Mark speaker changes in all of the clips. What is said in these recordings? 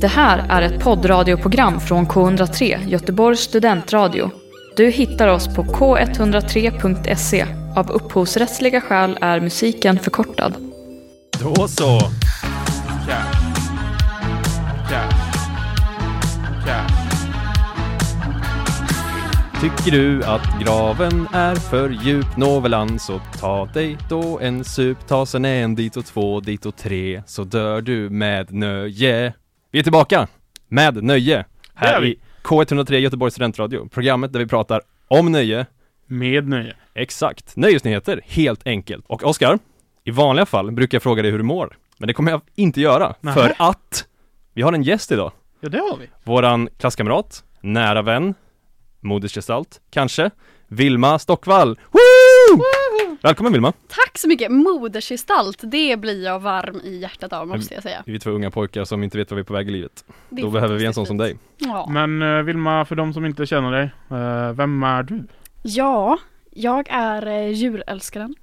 Speaker 1: Det här är ett poddradioprogram från K103, Göteborgs studentradio. Du hittar oss på k103.se. Av upphovsrättsliga skäl är musiken förkortad.
Speaker 2: Då så. Tja. Tja. Tja. Tycker du att graven är för djup nåvelan så ta dig då en sup, ta sen en dit och två dit och tre så dör du med nöje. Vi är tillbaka med nöje
Speaker 3: Det är
Speaker 2: här
Speaker 3: vi.
Speaker 2: i K103 Göteborgs studentradio, programmet där vi pratar om nöje
Speaker 3: Med nöje.
Speaker 2: Exakt, nöjesnyheter, helt enkelt. Och Oskar, i vanliga fall brukar jag fråga dig hur du mår. Men det kommer jag inte göra,
Speaker 3: Nej.
Speaker 2: för att vi har en gäst idag.
Speaker 3: Ja, det har vi.
Speaker 2: Våran klasskamrat, nära vän, modersgestalt, kanske, Vilma Stockvall. Woo! Välkommen Vilma!
Speaker 4: Tack så mycket! Modersgestalt, det blir jag varm i hjärtat av måste jag säga.
Speaker 2: Vi är två unga pojkar som inte vet vad vi är på väg i livet.
Speaker 4: Det är
Speaker 2: Då behöver vi en sån
Speaker 4: fantastiskt
Speaker 2: som dig.
Speaker 4: fint. Ja.
Speaker 3: Men uh, Vilma, för de som inte känner dig, eh, vem är du?
Speaker 4: ja, jag är eh, djurälskaren.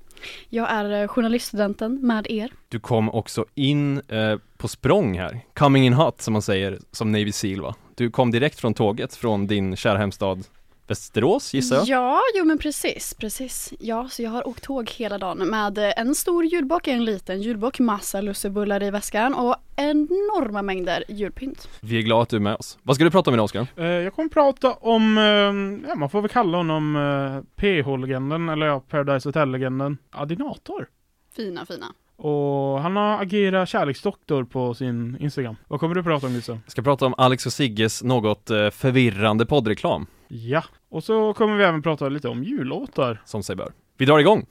Speaker 4: Jag är eh, journaliststudenten med er.
Speaker 2: Du kom också in eh, på språng här, coming in hot som man säger, som Navy Seal va? Du kom direkt från tåget från din kära hemstad Västerås gissar jag?
Speaker 4: Ja, jo men precis, precis. Ja, så jag har åkt tåg hela dagen med eh, en stor julbock, en liten julbock, massa lussebullar i väskan och enorma mängder julpynt.
Speaker 2: Vi är glada att du är med oss. Vad ska du prata om idag Oskar?
Speaker 3: Eh, jag kommer prata om, eh, ja man får väl kalla honom eh, PH-legenden, eller ja, Paradise Hotel-legenden, Adinator.
Speaker 4: Fina, fina.
Speaker 3: Och han har agerat kärleksdoktor på sin Instagram. Vad kommer du prata om Gustav?
Speaker 2: Jag ska prata om Alex och Sigges något eh, förvirrande poddreklam,
Speaker 3: Ja. Och så kommer vi även prata lite om jullåtar.
Speaker 2: som sig bör. Vi drar igång!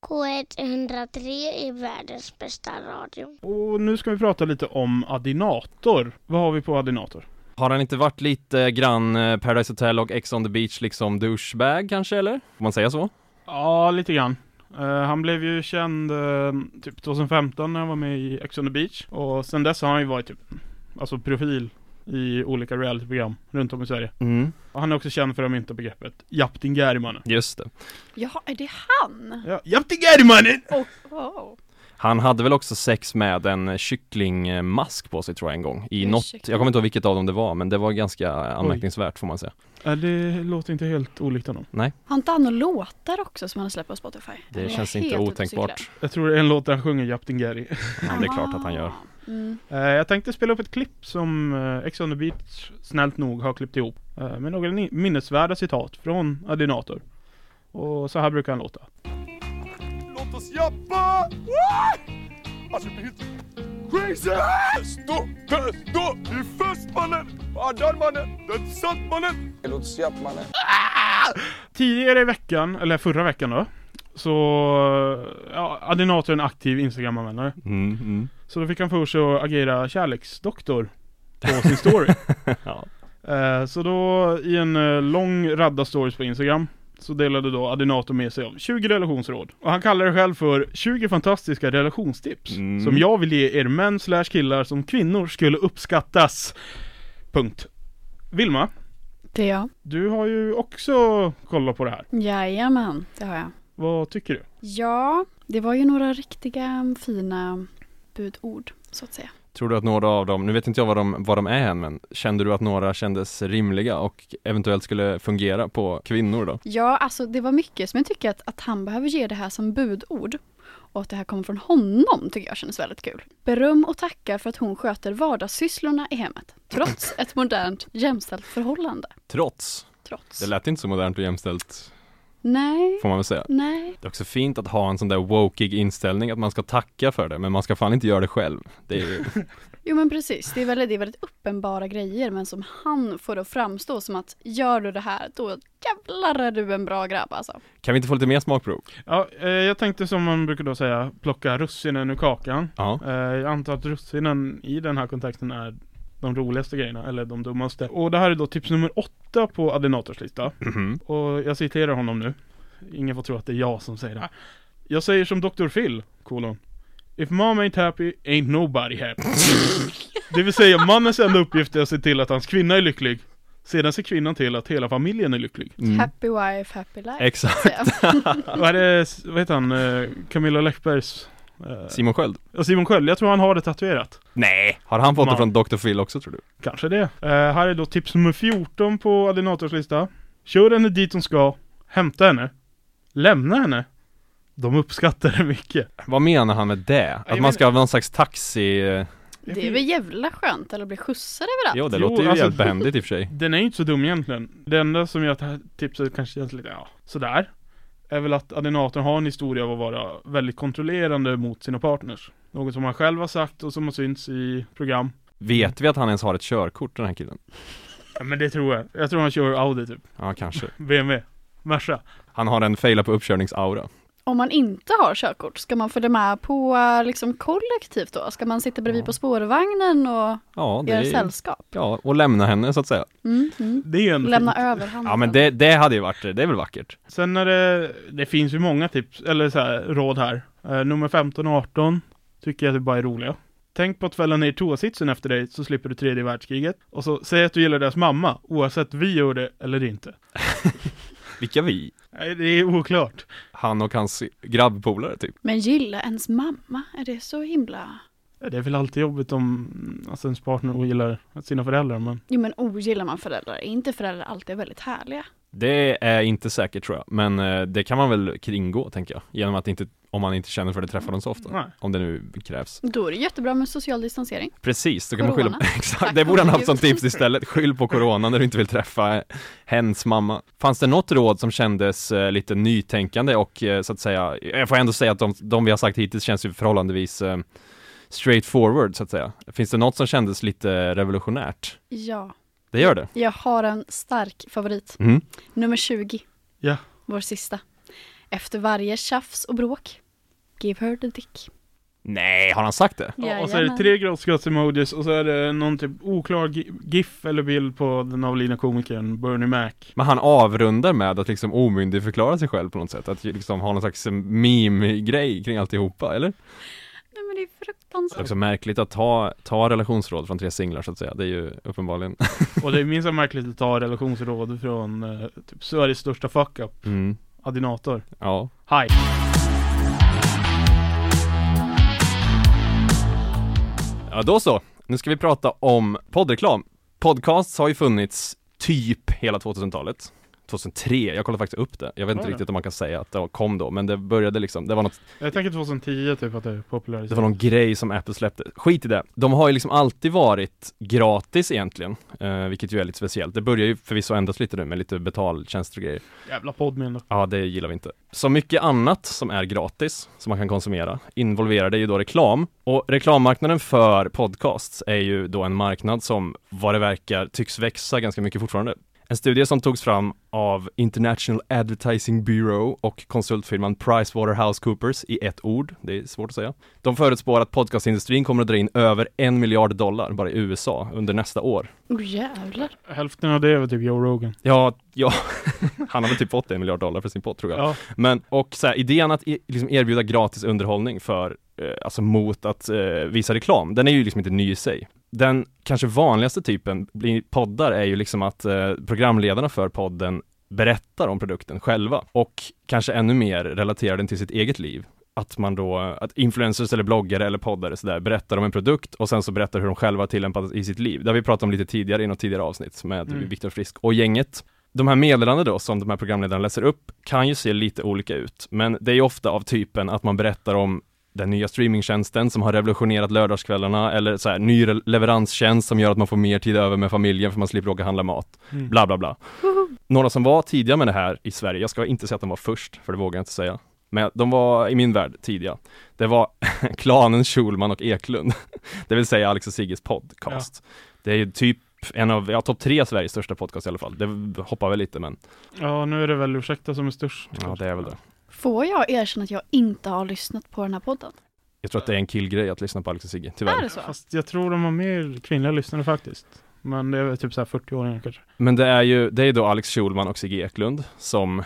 Speaker 5: K103 är världens bästa radio.
Speaker 3: Och nu ska vi prata lite om Adinator. Vad har vi på Adinator?
Speaker 2: Har han inte varit lite grann eh, Paradise Hotel och Ex on the Beach liksom douchebag kanske eller? Får man säga så?
Speaker 3: Ja, lite grann. Eh, han blev ju känd eh, typ 2015 när han var med i Ex on the Beach. Och sen dess har han ju varit typ, alltså profil i olika realityprogram runt om i Sverige.
Speaker 2: Mm,
Speaker 3: Och han är också känd för att mynta begreppet Japtin Gärimannen.
Speaker 2: just det.
Speaker 4: Ja, är det han?
Speaker 3: Ja, Japtin Gärimannen!
Speaker 4: Oh, wow.
Speaker 2: Han hade väl också sex med en eh, kycklingmask på sig tror jag en gång, i
Speaker 4: En
Speaker 2: något, jag
Speaker 4: kyckling.
Speaker 2: kommer inte ihåg vilket av dem det var, men det var ganska anmärkningsvärt får man säga.
Speaker 3: Ja, det låter inte helt olikt honom.
Speaker 4: Har inte han några låtar också som han har släppt på Spotify?
Speaker 2: Det
Speaker 4: Eller är jag
Speaker 2: känns inte
Speaker 4: helt ute och cyklar?
Speaker 2: otänkbart.
Speaker 3: Jag tror det är en låt där han sjunger Japtin Gäri.
Speaker 2: Ja, det är klart att han gör.
Speaker 4: Mm.
Speaker 3: Eh, jag tänkte spela upp ett klipp som eh, Ex on the Beach snällt nog har klippt ihop eh, med några ni- minnesvärda citat från Adinator. Och så här brukar han låta.
Speaker 6: Låt oss jappa! Wah! Alltså det blir helt crazy! Stå, stå! Det är fest mannen! Fan, den mannen! Den satt mannen! Låt oss jappa mannen!
Speaker 3: Ah! Tidigare i veckan, eller förra veckan då, så eh, ja, Adinator är en aktiv Instagram-användare.
Speaker 2: Mm, mm.
Speaker 3: Så då fick han för sig att agera kärleksdoktor på sin story.
Speaker 2: Ja.
Speaker 3: Eh, Så då i en eh, lång radda stories på Instagram så delade då Adinato med sig av 20 relationsråd. Och han kallar det själv för 20 fantastiska relationstips
Speaker 2: Mm.
Speaker 3: som jag vill ge er män slash killar som kvinnor skulle uppskattas. Punkt. Vilma,
Speaker 4: Det är jag.
Speaker 3: du har ju också kollat på det här.
Speaker 4: Jajamän, det har jag.
Speaker 3: Vad tycker du?
Speaker 4: Ja, det var ju några riktiga fina budord så att säga.
Speaker 2: Tror du att några av dem, nu vet inte jag vad de, vad de är än, men kände du att några kändes rimliga och eventuellt skulle fungera på kvinnor då?
Speaker 4: Ja, alltså det var mycket som jag tycker att, att han behöver ge det här som budord. Och att det här kommer från honom tycker jag känns väldigt kul. Beröm och tacka för att hon sköter vardagssysslorna i hemmet. Trots ett modernt jämställt förhållande.
Speaker 2: Trots,
Speaker 4: Trots.
Speaker 2: det lät inte så modernt och jämställt
Speaker 4: Nej,
Speaker 2: får man väl säga.
Speaker 4: nej.
Speaker 2: Det är också fint att ha en sån där wokeig inställning att man ska tacka för det, men man ska fan inte göra det själv. Det är ju,
Speaker 4: Jo men precis, det är, väldigt, det är väldigt uppenbara grejer men som han får det att framstå som att gör du det här då jävlar är du en bra grabb alltså.
Speaker 2: kan vi inte få lite mer smakprov?
Speaker 3: Ja, eh, jag tänkte som man brukar då säga, plocka russinen ur kakan.
Speaker 2: Ja.
Speaker 3: Eh, Jag antar att russinen i den här kontexten är de roligaste grejerna, eller de dummaste. Och det här är då tips nummer åtta på Adinators lista.
Speaker 2: Mhm.
Speaker 3: Och jag citerar honom nu. Ingen får tro att det är jag som säger det här. Jag säger som Dr. Phil, kolon. If mom ain't happy, ain't nobody happy. det vill säga, mannens enda uppgift är att se till att hans kvinna är lycklig. Sedan ser kvinnan till att hela familjen är lycklig.
Speaker 2: Mm.
Speaker 4: Happy wife, happy life.
Speaker 2: Exakt.
Speaker 4: säger jag.
Speaker 3: Vad är det, vad heter han, eh, Camilla Läckbergs? eh,
Speaker 2: Simon Sköld?
Speaker 3: ja, Simon Sköld, jag tror han har det tatuerat.
Speaker 2: Nej! Har han fått det från
Speaker 3: Man.
Speaker 2: Dr. Phil också tror du?
Speaker 3: Kanske det. Eh, här är då tips nummer 14 på Alinators lista. Kör henne dit hon ska. Hämta henne. Lämna henne. De uppskattar det mycket.
Speaker 2: Vad menar han med det? Att
Speaker 3: jag
Speaker 2: man ska ha någon slags taxi... eh,
Speaker 4: Det är väl jävla skönt eller bli skjutsad överallt.
Speaker 2: Jo, det
Speaker 3: Jo,
Speaker 2: låter ju
Speaker 3: alltså-
Speaker 2: jävligt behändigt i och för sig.
Speaker 3: Den är ju inte så dum egentligen. Det enda som gör att det här tipset kanske känns lite, ja, sådär. Är väl att Adinatorn har en historia av att vara väldigt kontrollerande mot sina partners. Något som han själv har sagt och som har synts i program.
Speaker 2: Vet vi att han ens har ett körkort den här killen?
Speaker 3: Ja, men det tror jag. Jag tror han kör Audi typ.
Speaker 2: Ja, kanske.
Speaker 3: BMW. Merca.
Speaker 2: Han har en faila på uppkörningsaura.
Speaker 4: Om man inte har körkort, ska man följa med på eh, liksom kollektivt då? Ska man sitta bredvid
Speaker 2: Ja.
Speaker 4: på spårvagnen och
Speaker 2: Ja, det
Speaker 4: göra
Speaker 2: är...
Speaker 4: sällskap?
Speaker 2: Ja, och lämna henne så att säga.
Speaker 4: Mm, mm.
Speaker 3: Det är ju en
Speaker 4: Lämna över handen.
Speaker 2: Ja, men det, det hade ju varit, det är väl vackert?
Speaker 3: Sen är det, det finns ju många tips, eller så här, råd här. Eh, nummer 15 och 18 tycker jag att det bara är roliga. Tänk på att fälla ner toasitsen efter dig så slipper du tredje världskriget. Och så säg att du gillar deras mamma, oavsett vi gör det eller inte.
Speaker 2: Vilka vi?
Speaker 3: Nej, det är oklart.
Speaker 2: Han och hans grabbpolare typ.
Speaker 4: Men gilla ens mamma, är det så himla...
Speaker 3: Det är väl alltid jobbigt om alltså, ens partner ogillar sina föräldrar, men
Speaker 4: Jo men ogillar man föräldrar, är inte föräldrar alltid väldigt härliga?
Speaker 2: Det är inte säkert tror jag, men eh, det kan man väl kringgå tänker jag. Genom att inte, om man inte känner för det träffar dem så ofta.
Speaker 3: nej.
Speaker 2: Om det nu krävs.
Speaker 4: Då är det jättebra med social distansering.
Speaker 2: Precis, då kan man skylla på,
Speaker 4: Corona.
Speaker 2: exakt,
Speaker 4: Tack,
Speaker 2: det borde han haft som
Speaker 4: herregud.
Speaker 2: tips istället. Skyll på corona när du inte vill träffa eh, hens mamma. Fanns det något råd som kändes eh, lite nytänkande och eh, så att säga, jag får ändå säga att de, de vi har sagt hittills känns ju förhållandevis eh, straightforward så att säga. Finns det något som kändes lite revolutionärt?
Speaker 4: Ja,
Speaker 2: Det gör det.
Speaker 4: jag har en stark favorit.
Speaker 2: Mm.
Speaker 4: Nummer 20.
Speaker 3: Ja.
Speaker 4: Vår sista. Efter varje tjafs och bråk, give her the dick.
Speaker 2: Nej, har han sagt det?
Speaker 3: Ja, och så är det tre gråtskratts-emojis och så är det någon typ oklar gi- GIF eller bild på den avlidna komikern Bernie Mac.
Speaker 2: Men han avrundar med att liksom omyndigförklara sig själv på något sätt, att ju liksom ha någon slags meme-grej kring alltihopa, eller?
Speaker 4: Nej men det är
Speaker 2: Det är
Speaker 4: fruktansvärt.
Speaker 2: också märkligt att ta, ta relationsråd från tre singlar så att säga, det är ju uppenbarligen
Speaker 3: Och det är minst lika märkligt att ta relationsråd från eh, typ Sveriges största fuck-up,
Speaker 2: mm.
Speaker 3: Adinator.
Speaker 2: Ja,
Speaker 3: Hej!
Speaker 2: Ja då så, nu ska vi prata om poddreklam. Podcasts har ju funnits typ hela 2000-talet. 2003, jag kollade faktiskt upp det. Jag vet inte
Speaker 3: Var det?
Speaker 2: riktigt om man kan säga att det kom då, men det började liksom, det var något,
Speaker 3: Jag tänker 2010 typ att det är
Speaker 2: det
Speaker 3: populariserat.
Speaker 2: var någon grej som Apple släppte. Skit i det. De har ju liksom alltid varit gratis egentligen, eh, vilket ju är lite speciellt. Det börjar ju förvisso ändras lite nu med lite betaltjänster och grejer.
Speaker 3: Jävla poddmin då.
Speaker 2: Ja, det gillar vi inte. Så mycket annat som är gratis, som man kan konsumera, involverar det ju då reklam. Och reklammarknaden för podcasts är ju då en marknad som, vad det verkar, tycks växa ganska mycket fortfarande. En studie som togs fram av International Advertising Bureau och konsultfirman PricewaterhouseCoopers i ett ord, det är svårt att säga. De förutspår att podcastindustrin kommer att dra in över en miljard dollar bara i USA under nästa år.
Speaker 4: Oh jävlar.
Speaker 3: Hälften av det är väl typ Joe Rogan.
Speaker 2: Ja, ja, han har väl typ fått en miljard dollar för sin podd tror jag.
Speaker 3: Ja.
Speaker 2: Men, och så här, idén att i- liksom erbjuda gratis underhållning för, eh, alltså mot att eh, visa reklam, den är ju liksom inte ny i sig. Den kanske vanligaste typen bli- poddar är ju liksom att eh, programledarna för podden berättar om produkten själva och kanske ännu mer relaterar den till sitt eget liv. Att man då, att influencers eller bloggare eller poddare sådär berättar om en produkt och sen så berättar hur de själva har tillämpat det i sitt liv. Det har vi pratat om lite tidigare i något tidigare avsnitt med
Speaker 3: Mm.
Speaker 2: Viktor Frisk och gänget. De här meddelanden då som de här programledarna läser upp kan ju se lite olika ut, men det är ju ofta av typen att man berättar om den nya streamingtjänsten som har revolutionerat lördagskvällarna eller så här, ny re- leveranstjänst som gör att man får mer tid över med familjen för man slipper åka och handla mat.
Speaker 3: Mm.
Speaker 2: Bla bla bla. Några som var tidiga med det här i Sverige, jag ska inte säga att de var först, för det vågar jag inte säga. Men de var i min värld tidiga. Det var klanen Schulman och Eklund, det vill säga Alex och Sigges podcast. Det är ju typ en av, ja topp tre av Sveriges största podcast i alla fall. Det hoppar väl lite men,
Speaker 3: ja, nu är det väl Ursäkta som är störst.
Speaker 2: ja det är väl det.
Speaker 4: Får jag erkänna att jag inte har lyssnat på den här podden?
Speaker 2: Jag tror att det är en killgrej att lyssna på Alex och Sigge,
Speaker 4: Är
Speaker 2: tyvärr.
Speaker 4: det så?
Speaker 3: Fast jag tror de har mer kvinnliga lyssnare faktiskt. Men det är väl typ såhär 40-åringar kanske.
Speaker 2: Men det är ju, det är ju då Alex Schulman och Sigge Eklund som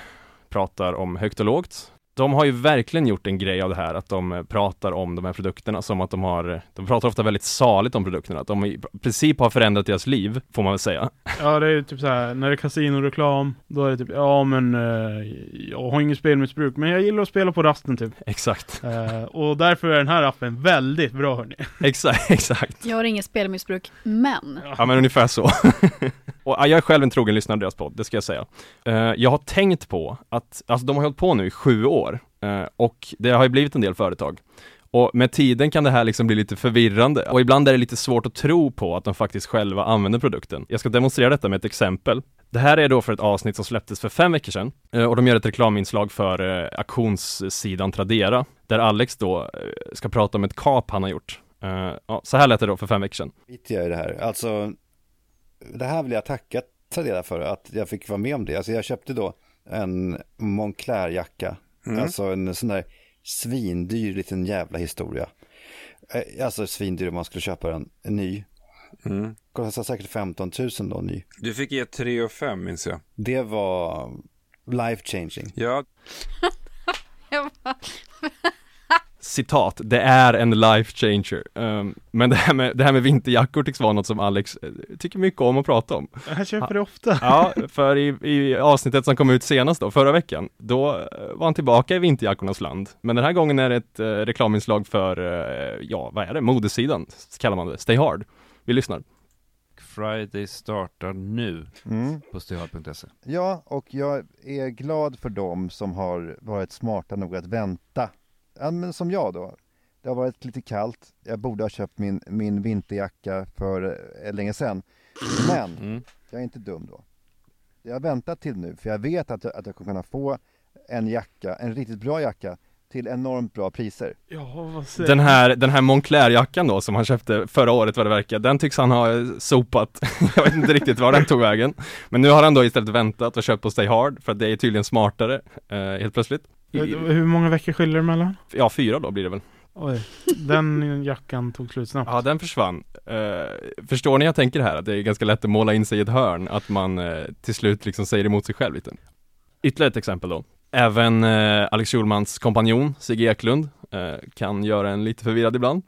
Speaker 2: pratar om högt och lågt. De har ju verkligen gjort en grej av det här, att de eh, pratar om de här produkterna som att de har, de pratar ofta väldigt saligt om produkterna, att de i princip har förändrat deras liv, får man väl säga.
Speaker 3: Ja det är ju typ så här när det är kasinoreklam Då är det typ, ja men eh, jag har inget spelmissbruk men jag gillar att spela på rasten typ
Speaker 2: Exakt,
Speaker 3: Eh, Och därför är den här appen väldigt bra hörni
Speaker 2: exakt, exakt.
Speaker 4: Jag har inget spelmissbruk, men
Speaker 2: Ja men ungefär så. och ja, jag är själv en trogen lyssnare av deras podd, det ska jag säga. Eh, jag har tänkt på att, alltså de har hållit på nu i sju år eh, och det har ju blivit en del företag. Och med tiden kan det här liksom bli lite förvirrande och ibland är det lite svårt att tro på att de faktiskt själva använder produkten. Jag ska demonstrera detta med ett exempel. Det här är då för ett avsnitt som släpptes för fem veckor sedan eh, och de gör ett reklaminslag för eh, auktionssidan Tradera där Alex då eh, ska prata om ett kap han har gjort. Eh, ja, så här lät det då för fem veckor sedan.
Speaker 7: mitt jag i det här. Alltså, det här vill jag tacka Tradera för, att jag fick vara med om det. Alltså jag köpte då en Moncler-jacka, alltså en sån där svindyr liten jävla historia. Eh, Alltså svindyr om man skulle köpa den ny.
Speaker 8: Mm.
Speaker 7: Kostade säkert 15 000 då ny.
Speaker 8: Du fick ge 3 och 5 minns jag.
Speaker 7: Det var life changing.
Speaker 8: Ja,
Speaker 4: jag bara,
Speaker 2: citat, det är en life changer. Ehm, men det här, med, det här med vinterjackor tycks vara något som Alex eh, tycker mycket om att prata om.
Speaker 3: Jag köper det ofta
Speaker 2: Ja, för i, i avsnittet som kom ut senast då, förra veckan, då eh, var han tillbaka i vinterjackornas land. Men den här gången är det ett eh, reklaminslag för, eh, ja, vad är det, modesidan, s- kallar man det, Stay Hard. Vi lyssnar.
Speaker 9: Friday startar nu på stayhard.se.
Speaker 10: Ja, och jag är glad för dem som har varit smarta nog att vänta. Ja, men som jag då. Det har varit lite kallt. Jag borde ha köpt min, min vinterjacka för eh, länge sedan. Men jag är inte dum då. Jag har väntat till nu, för jag vet att jag, att jag kommer kunna få en jacka, en riktigt bra jacka, till enormt bra priser.
Speaker 3: Ja vad säger
Speaker 2: Den här, den här Moncler-jackan då, som han köpte förra året vad det verkar, den tycks han ha eh, sopat. Jag vet inte riktigt var den tog vägen. Men nu har han då istället väntat och köpt på Stay Hard, för att det är tydligen smartare, eh, helt plötsligt. I,
Speaker 3: Hur många veckor skiljer det mellan?
Speaker 2: ja, fyra då blir det väl.
Speaker 3: Oj Den jackan tog slut snabbt
Speaker 2: Ja, den försvann. Eh, förstår ni jag tänker här? Att det är ganska lätt att måla in sig i ett hörn, att man eh, till slut liksom säger emot sig själv lite. Ytterligare ett exempel då. Även eh, Alex Schulmans kompanjon, Sigge Eklund, eh, kan göra en lite förvirrad ibland.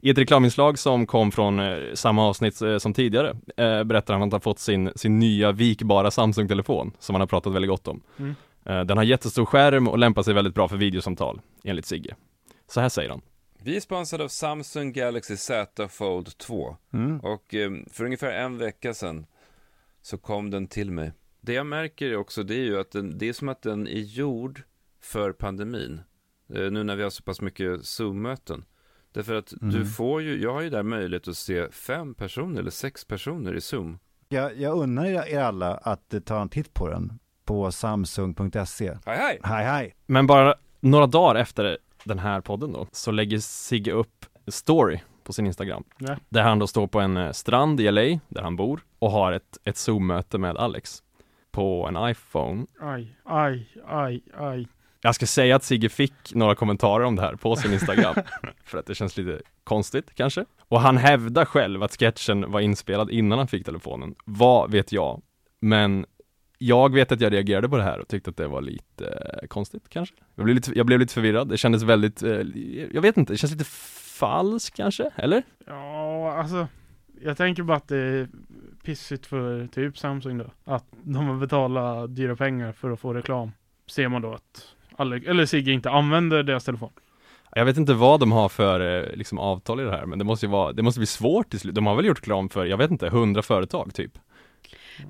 Speaker 2: I ett reklaminslag som kom från eh, samma avsnitt eh, som tidigare eh, berättar han att han fått sin, sin nya vikbara Samsung-telefon som han har pratat väldigt gott om.
Speaker 3: Mm.
Speaker 2: Eh, den har jättestor skärm och lämpar sig väldigt bra för videosamtal, enligt Sigge. Så här säger han.
Speaker 8: vi är sponsrade av Samsung Galaxy Z Fold 2.
Speaker 3: Mm.
Speaker 8: Och eh, för ungefär en vecka sedan så kom den till mig. Det jag märker också det är ju att den, det är som att den är gjord för pandemin. Eh, nu när vi har så pass mycket Zoom-möten. Därför att du
Speaker 9: Mm.
Speaker 8: får ju, jag har ju där möjlighet att se fem personer eller sex personer i Zoom.
Speaker 10: Jag, jag unnar er alla att ta en titt på den på samsung.se.
Speaker 8: Hej hej!
Speaker 10: Hej hej!
Speaker 2: Men bara några dagar efter den här podden då, så lägger Sigge upp en story på sin Instagram.
Speaker 3: Ja.
Speaker 2: Där han då står på en eh, strand i LA, där han bor, och har ett, ett Zoom-möte med Alex på en iPhone.
Speaker 3: Aj, aj, aj, aj
Speaker 2: Jag ska säga att Sigge fick några kommentarer om det här på sin Instagram, för att det känns lite konstigt kanske. Och han hävdar själv att sketchen var inspelad innan han fick telefonen. Vad vet jag? Men jag vet att jag reagerade på det här och tyckte att det var lite eh, konstigt kanske. Jag blev lite, jag blev lite förvirrad, det kändes väldigt, eh, jag vet inte, det känns lite falskt kanske, eller?
Speaker 3: Ja, alltså. Jag tänker bara att det är pissigt för typ Samsung då. Att de vill betala dyra pengar för att få reklam. Ser man då att Alex, eller Sigge inte använder deras telefon.
Speaker 2: Jag vet inte vad de har för eh, liksom, avtal i det här, men det måste ju vara, det måste bli svårt till slut. De har väl gjort reklam för, jag vet inte, hundra företag typ.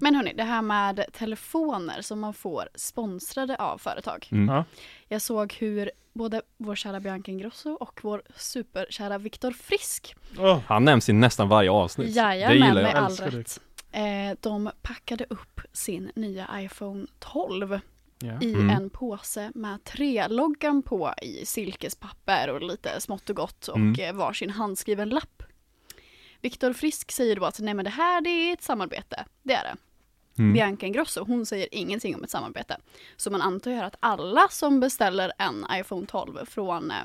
Speaker 4: men hörni, det här med telefoner som man får sponsrade av företag.
Speaker 2: Mm.
Speaker 3: Ja.
Speaker 4: Jag såg hur både vår kära Bianca Ingrosso och vår superkära Viktor Frisk
Speaker 3: Åh,
Speaker 2: Han nämns i nästan varje avsnitt. det
Speaker 4: Jajamän,
Speaker 2: gillar jag.
Speaker 4: med all
Speaker 3: Älskar det.
Speaker 4: rätt. Eh, de packade upp sin nya iPhone 12
Speaker 3: ja.
Speaker 4: i
Speaker 2: Mm.
Speaker 4: en påse med tre loggan på i silkespapper och lite smått och gott och
Speaker 2: Mm.
Speaker 4: eh, varsin handskriven lapp. Viktor Frisk säger då att nej men det här det är ett samarbete, det är det.
Speaker 2: Mm.
Speaker 4: Bianca Ingrosso hon säger ingenting om ett samarbete. Så man antar ju här att alla som beställer en iPhone 12 från eh,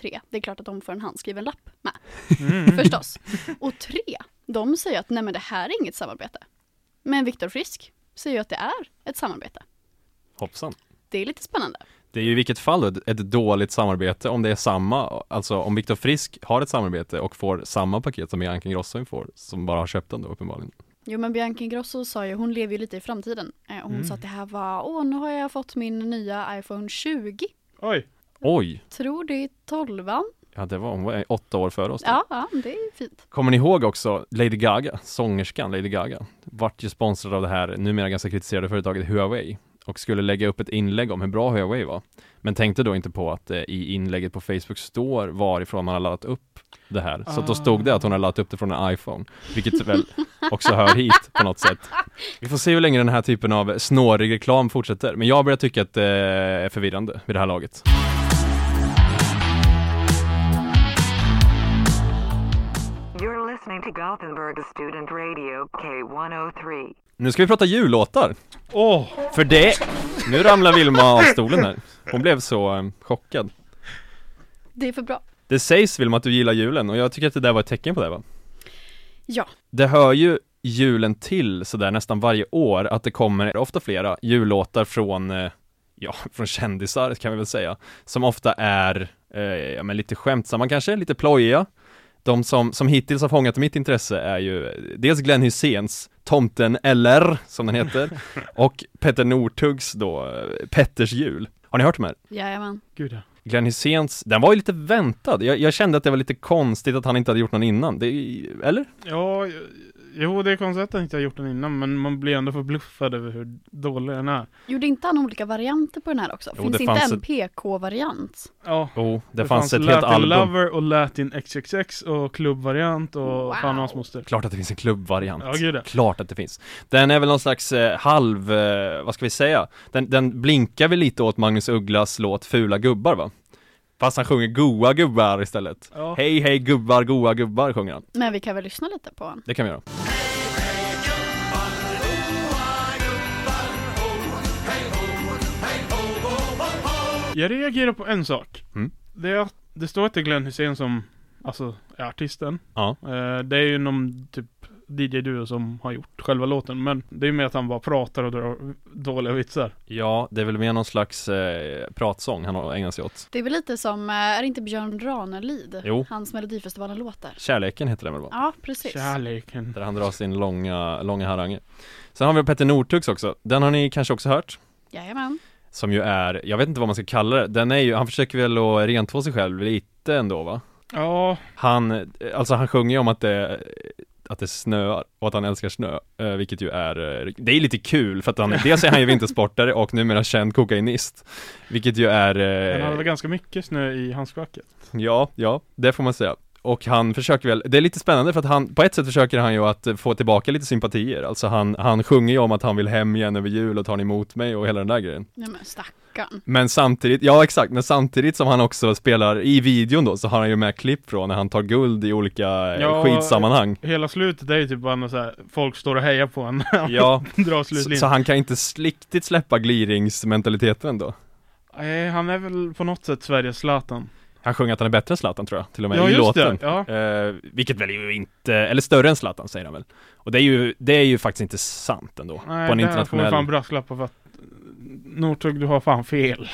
Speaker 4: tre, det är klart att de får en handskriven lapp med. Förstås. Och tre, de säger att nej men det här är inget samarbete. Men Viktor Frisk säger ju att det är ett samarbete.
Speaker 2: Hoppsan.
Speaker 4: Det är lite spännande.
Speaker 2: Det är ju i vilket fall ett, ett dåligt samarbete om det är samma, alltså om Viktor Frisk har ett samarbete och får samma paket som Bianca Ingrosso får, som bara har köpt den då uppenbarligen.
Speaker 4: Jo men Bianca Ingrosso sa ju, hon lever ju lite i framtiden. Eh, Hon
Speaker 2: Mm.
Speaker 4: sa att det här var, åh nu har jag fått min nya iPhone 20.
Speaker 3: Oj!
Speaker 2: Oj!
Speaker 4: Tror det är 12
Speaker 2: Ja, det var, hon var åtta år före oss. då.
Speaker 4: Ja, ja, det är fint.
Speaker 2: Kommer ni ihåg också Lady Gaga, sångerskan Lady Gaga, vart ju sponsrad av det här numera ganska kritiserade företaget Huawei och skulle lägga upp ett inlägg om hur bra Huawei var. Men tänkte då inte på att eh, i inlägget på Facebook står varifrån man har laddat upp det här. Så att då stod det att hon har laddat upp det från en iPhone, vilket väl också hör hit på något sätt. Vi får se hur länge den här typen av snårig reklam fortsätter, men jag börjar tycka att det är förvirrande vid det här laget.
Speaker 11: You're listening to Gothenburg Student Radio K103.
Speaker 2: Nu ska vi prata jullåtar!
Speaker 3: Åh!
Speaker 2: För det! Nu ramlar Vilma av stolen här. Hon blev så eh, chockad.
Speaker 4: Det är för bra.
Speaker 2: Det sägs Vilma att du gillar julen och jag tycker att det där var ett tecken på det va?
Speaker 4: Ja,
Speaker 2: Det hör ju julen till sådär nästan varje år att det kommer, ofta flera, jullåtar från, eh, ja, från kändisar kan vi väl säga, som ofta är, eh, ja men lite skämtsamma kanske, lite plojiga. De som, som hittills har fångat mitt intresse är ju eh, dels Glenn Hyséns Tomten eller, som den heter, och Petter Northugs då, eh, Petters jul. Har ni hört de här?
Speaker 4: jajamän.
Speaker 3: Gud ja.
Speaker 2: Glenn Hyséns, den var ju lite väntad. Jag, jag kände att det var lite konstigt att han inte hade gjort någon innan. Det, eller?
Speaker 3: Ja, jo det är konstigt att jag inte har gjort den innan men man blir ändå förbluffad över hur dålig den är.
Speaker 4: Gjorde inte han olika varianter på den här också?
Speaker 2: Jo,
Speaker 4: Finns
Speaker 2: det
Speaker 4: inte
Speaker 2: fanns
Speaker 4: en
Speaker 2: ett-
Speaker 4: PK-variant?
Speaker 3: Ja.
Speaker 2: Jo, det, fanns, ett helt
Speaker 3: Latin
Speaker 2: album.
Speaker 3: Lover och Latin XXX och klubbvariant och fan och hans moster.
Speaker 2: Klart att det finns en klubbvariant.
Speaker 3: Ja, gud, ja.
Speaker 2: Klart att det finns. Den är väl någon slags eh, halv, eh, vad ska vi säga? Den, den blinkar väl lite åt Magnus Ugglas låt Fula gubbar va? Fast han sjunger goa gubbar istället.
Speaker 4: Ja.
Speaker 2: Hej hej gubbar, goa gubbar sjunger han.
Speaker 4: Men vi kan väl lyssna lite på honom?
Speaker 2: Det kan vi göra.
Speaker 3: Jag reagerar på en sak.
Speaker 2: Mm.
Speaker 3: Det, är att, det står att det är Glenn Hussein som alltså, är artisten.
Speaker 2: Ja.
Speaker 3: Eh, det är ju någon typ DJ-duo som har gjort själva låten men det är ju mer att han bara pratar och drar dåliga vitsar.
Speaker 2: Ja, det är väl mer någon slags eh, pratsång han har ägnat sig åt.
Speaker 4: Det är väl lite som, eh, är det inte Björn Ranelid?
Speaker 2: Jo.
Speaker 4: Hans Melodifestivalen-låtar.
Speaker 2: Kärleken heter den väl va?
Speaker 4: Ja, precis.
Speaker 3: Kärleken.
Speaker 2: Där han drar sin långa, långa harange. Sen har vi Petter Northugs också. Den har ni kanske också hört?
Speaker 4: Jajamän.
Speaker 2: Som ju är, jag vet inte vad man ska kalla det. Den är ju, han försöker väl att rentvå sig själv lite ändå va?
Speaker 3: Ja,
Speaker 2: Han, alltså han sjunger ju om att det att det snöar och att han älskar snö, eh, vilket ju är, eh, det är lite kul för att han, dels är han ju vintersportare och numera känd kokainist, vilket ju är
Speaker 3: han hade
Speaker 2: eh,
Speaker 3: väl ganska mycket snö i handskfacket.
Speaker 2: Ja, ja, det får man säga. Och han försöker väl, det är lite spännande för att han, på ett sätt försöker han ju att eh, få tillbaka lite sympatier. Alltså han, han sjunger ju om att han vill hem igen över jul och tar ni emot mig och hela den där grejen.
Speaker 4: Nej men stackarn.
Speaker 2: Men samtidigt, ja exakt, men samtidigt som han också spelar i videon då så har han ju med klipp från när han tar guld i olika eh,
Speaker 3: Ja,
Speaker 2: skidsammanhang.
Speaker 3: Hela slutet är ju typ bara något så här, folk står och hejar på honom när han
Speaker 2: Ja,
Speaker 3: drar
Speaker 2: så,
Speaker 3: slutlinan.
Speaker 2: så han kan inte riktigt släppa gliringsmentaliteten då.
Speaker 3: Nej, Eh, han är väl på något sätt Sveriges Zlatan.
Speaker 2: Han sjunger att han är bättre än Zlatan tror jag, till och med
Speaker 3: Ja,
Speaker 2: i
Speaker 3: just
Speaker 2: låten.
Speaker 3: det, ja.
Speaker 2: Eh, vilket väl ju inte, eller större än Zlatan säger han väl. Och det är ju, det är ju faktiskt inte sant ändå.
Speaker 3: Nej,
Speaker 2: på en
Speaker 3: där får vi
Speaker 2: internationell.
Speaker 3: fan brasklappar för att Northug, du har fan fel.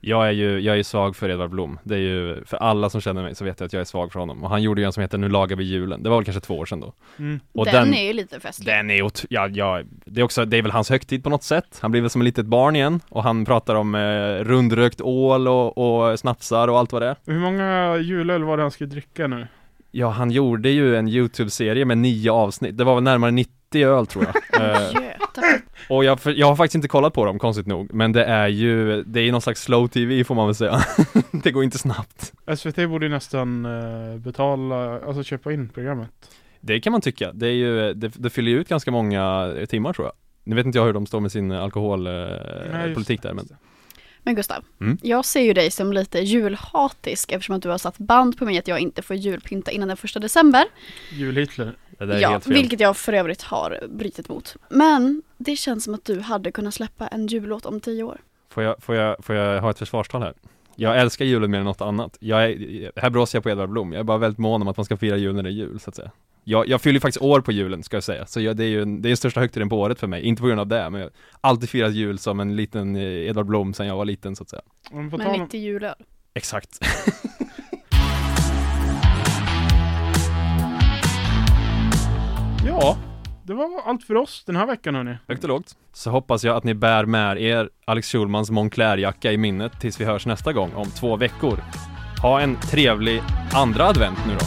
Speaker 2: Jag är ju, jag är ju svag för Edvard Blom. Det är ju, för alla som känner mig så vet jag att jag är svag för honom. Och han gjorde ju en som heter Nu lagar vi julen. Det var väl kanske två år sedan då.
Speaker 3: Mm.
Speaker 2: Och
Speaker 4: den, är ju lite festlig.
Speaker 2: Den är ot- ja, ja, det är också, det är väl hans högtid på något sätt. Han blir väl som ett litet barn igen och han pratar om eh, rundrökt ål och, och snapsar och allt vad det är.
Speaker 3: Hur många julöl var det han skulle dricka nu?
Speaker 2: Ja, han gjorde ju en YouTube-serie med nio avsnitt. Det var väl närmare 90 öl tror jag. Eh,
Speaker 4: Göta.
Speaker 2: och jag, för, jag har faktiskt inte kollat på dem, konstigt nog. Men det är ju, det är ju någon slags slow-tv får man väl säga. det går inte snabbt.
Speaker 3: SVT borde ju nästan eh, betala, alltså köpa in programmet.
Speaker 2: Det kan man tycka. Det, är ju, det, det fyller ju ut ganska många eh, timmar tror jag. Nu vet inte jag hur de står med sin
Speaker 3: Nej, just
Speaker 2: alkoholpolitik där men
Speaker 4: Men Gustav,
Speaker 2: Mm.
Speaker 4: jag ser ju dig som lite julhatisk eftersom att du har satt band på mig att jag inte får julpynta innan den första december.
Speaker 3: Jul-Hitler.
Speaker 2: det där är
Speaker 4: ja,
Speaker 2: helt fel.
Speaker 4: vilket jag för övrigt har brutit mot. Men det känns som att du hade kunnat släppa en jullåt om tio år.
Speaker 2: Får jag, får, jag, får jag ha ett försvarstal här? Jag älskar julen mer än något annat. Jag är, här blåser jag på Edvard Blom. Jag är bara väldigt mån om att man ska fira jul när det är jul, så att säga. Jag, jag fyller ju faktiskt år på julen ska jag säga, så jag, det är ju en, det är den största högtiden på året för mig, inte på grund av det, men jag har alltid firat jul som en liten eh, Edvard Blom sedan jag var liten så att säga.
Speaker 3: Men,
Speaker 4: Men mitt i julen.
Speaker 2: Exakt.
Speaker 3: Ja, det var allt för oss den här veckan hörni.
Speaker 2: Högt och lågt. Så hoppas jag att ni bär med er Alex Schulmans Moncler-jacka i minnet tills vi hörs nästa gång om två veckor. Ha en trevlig andra advent nu då.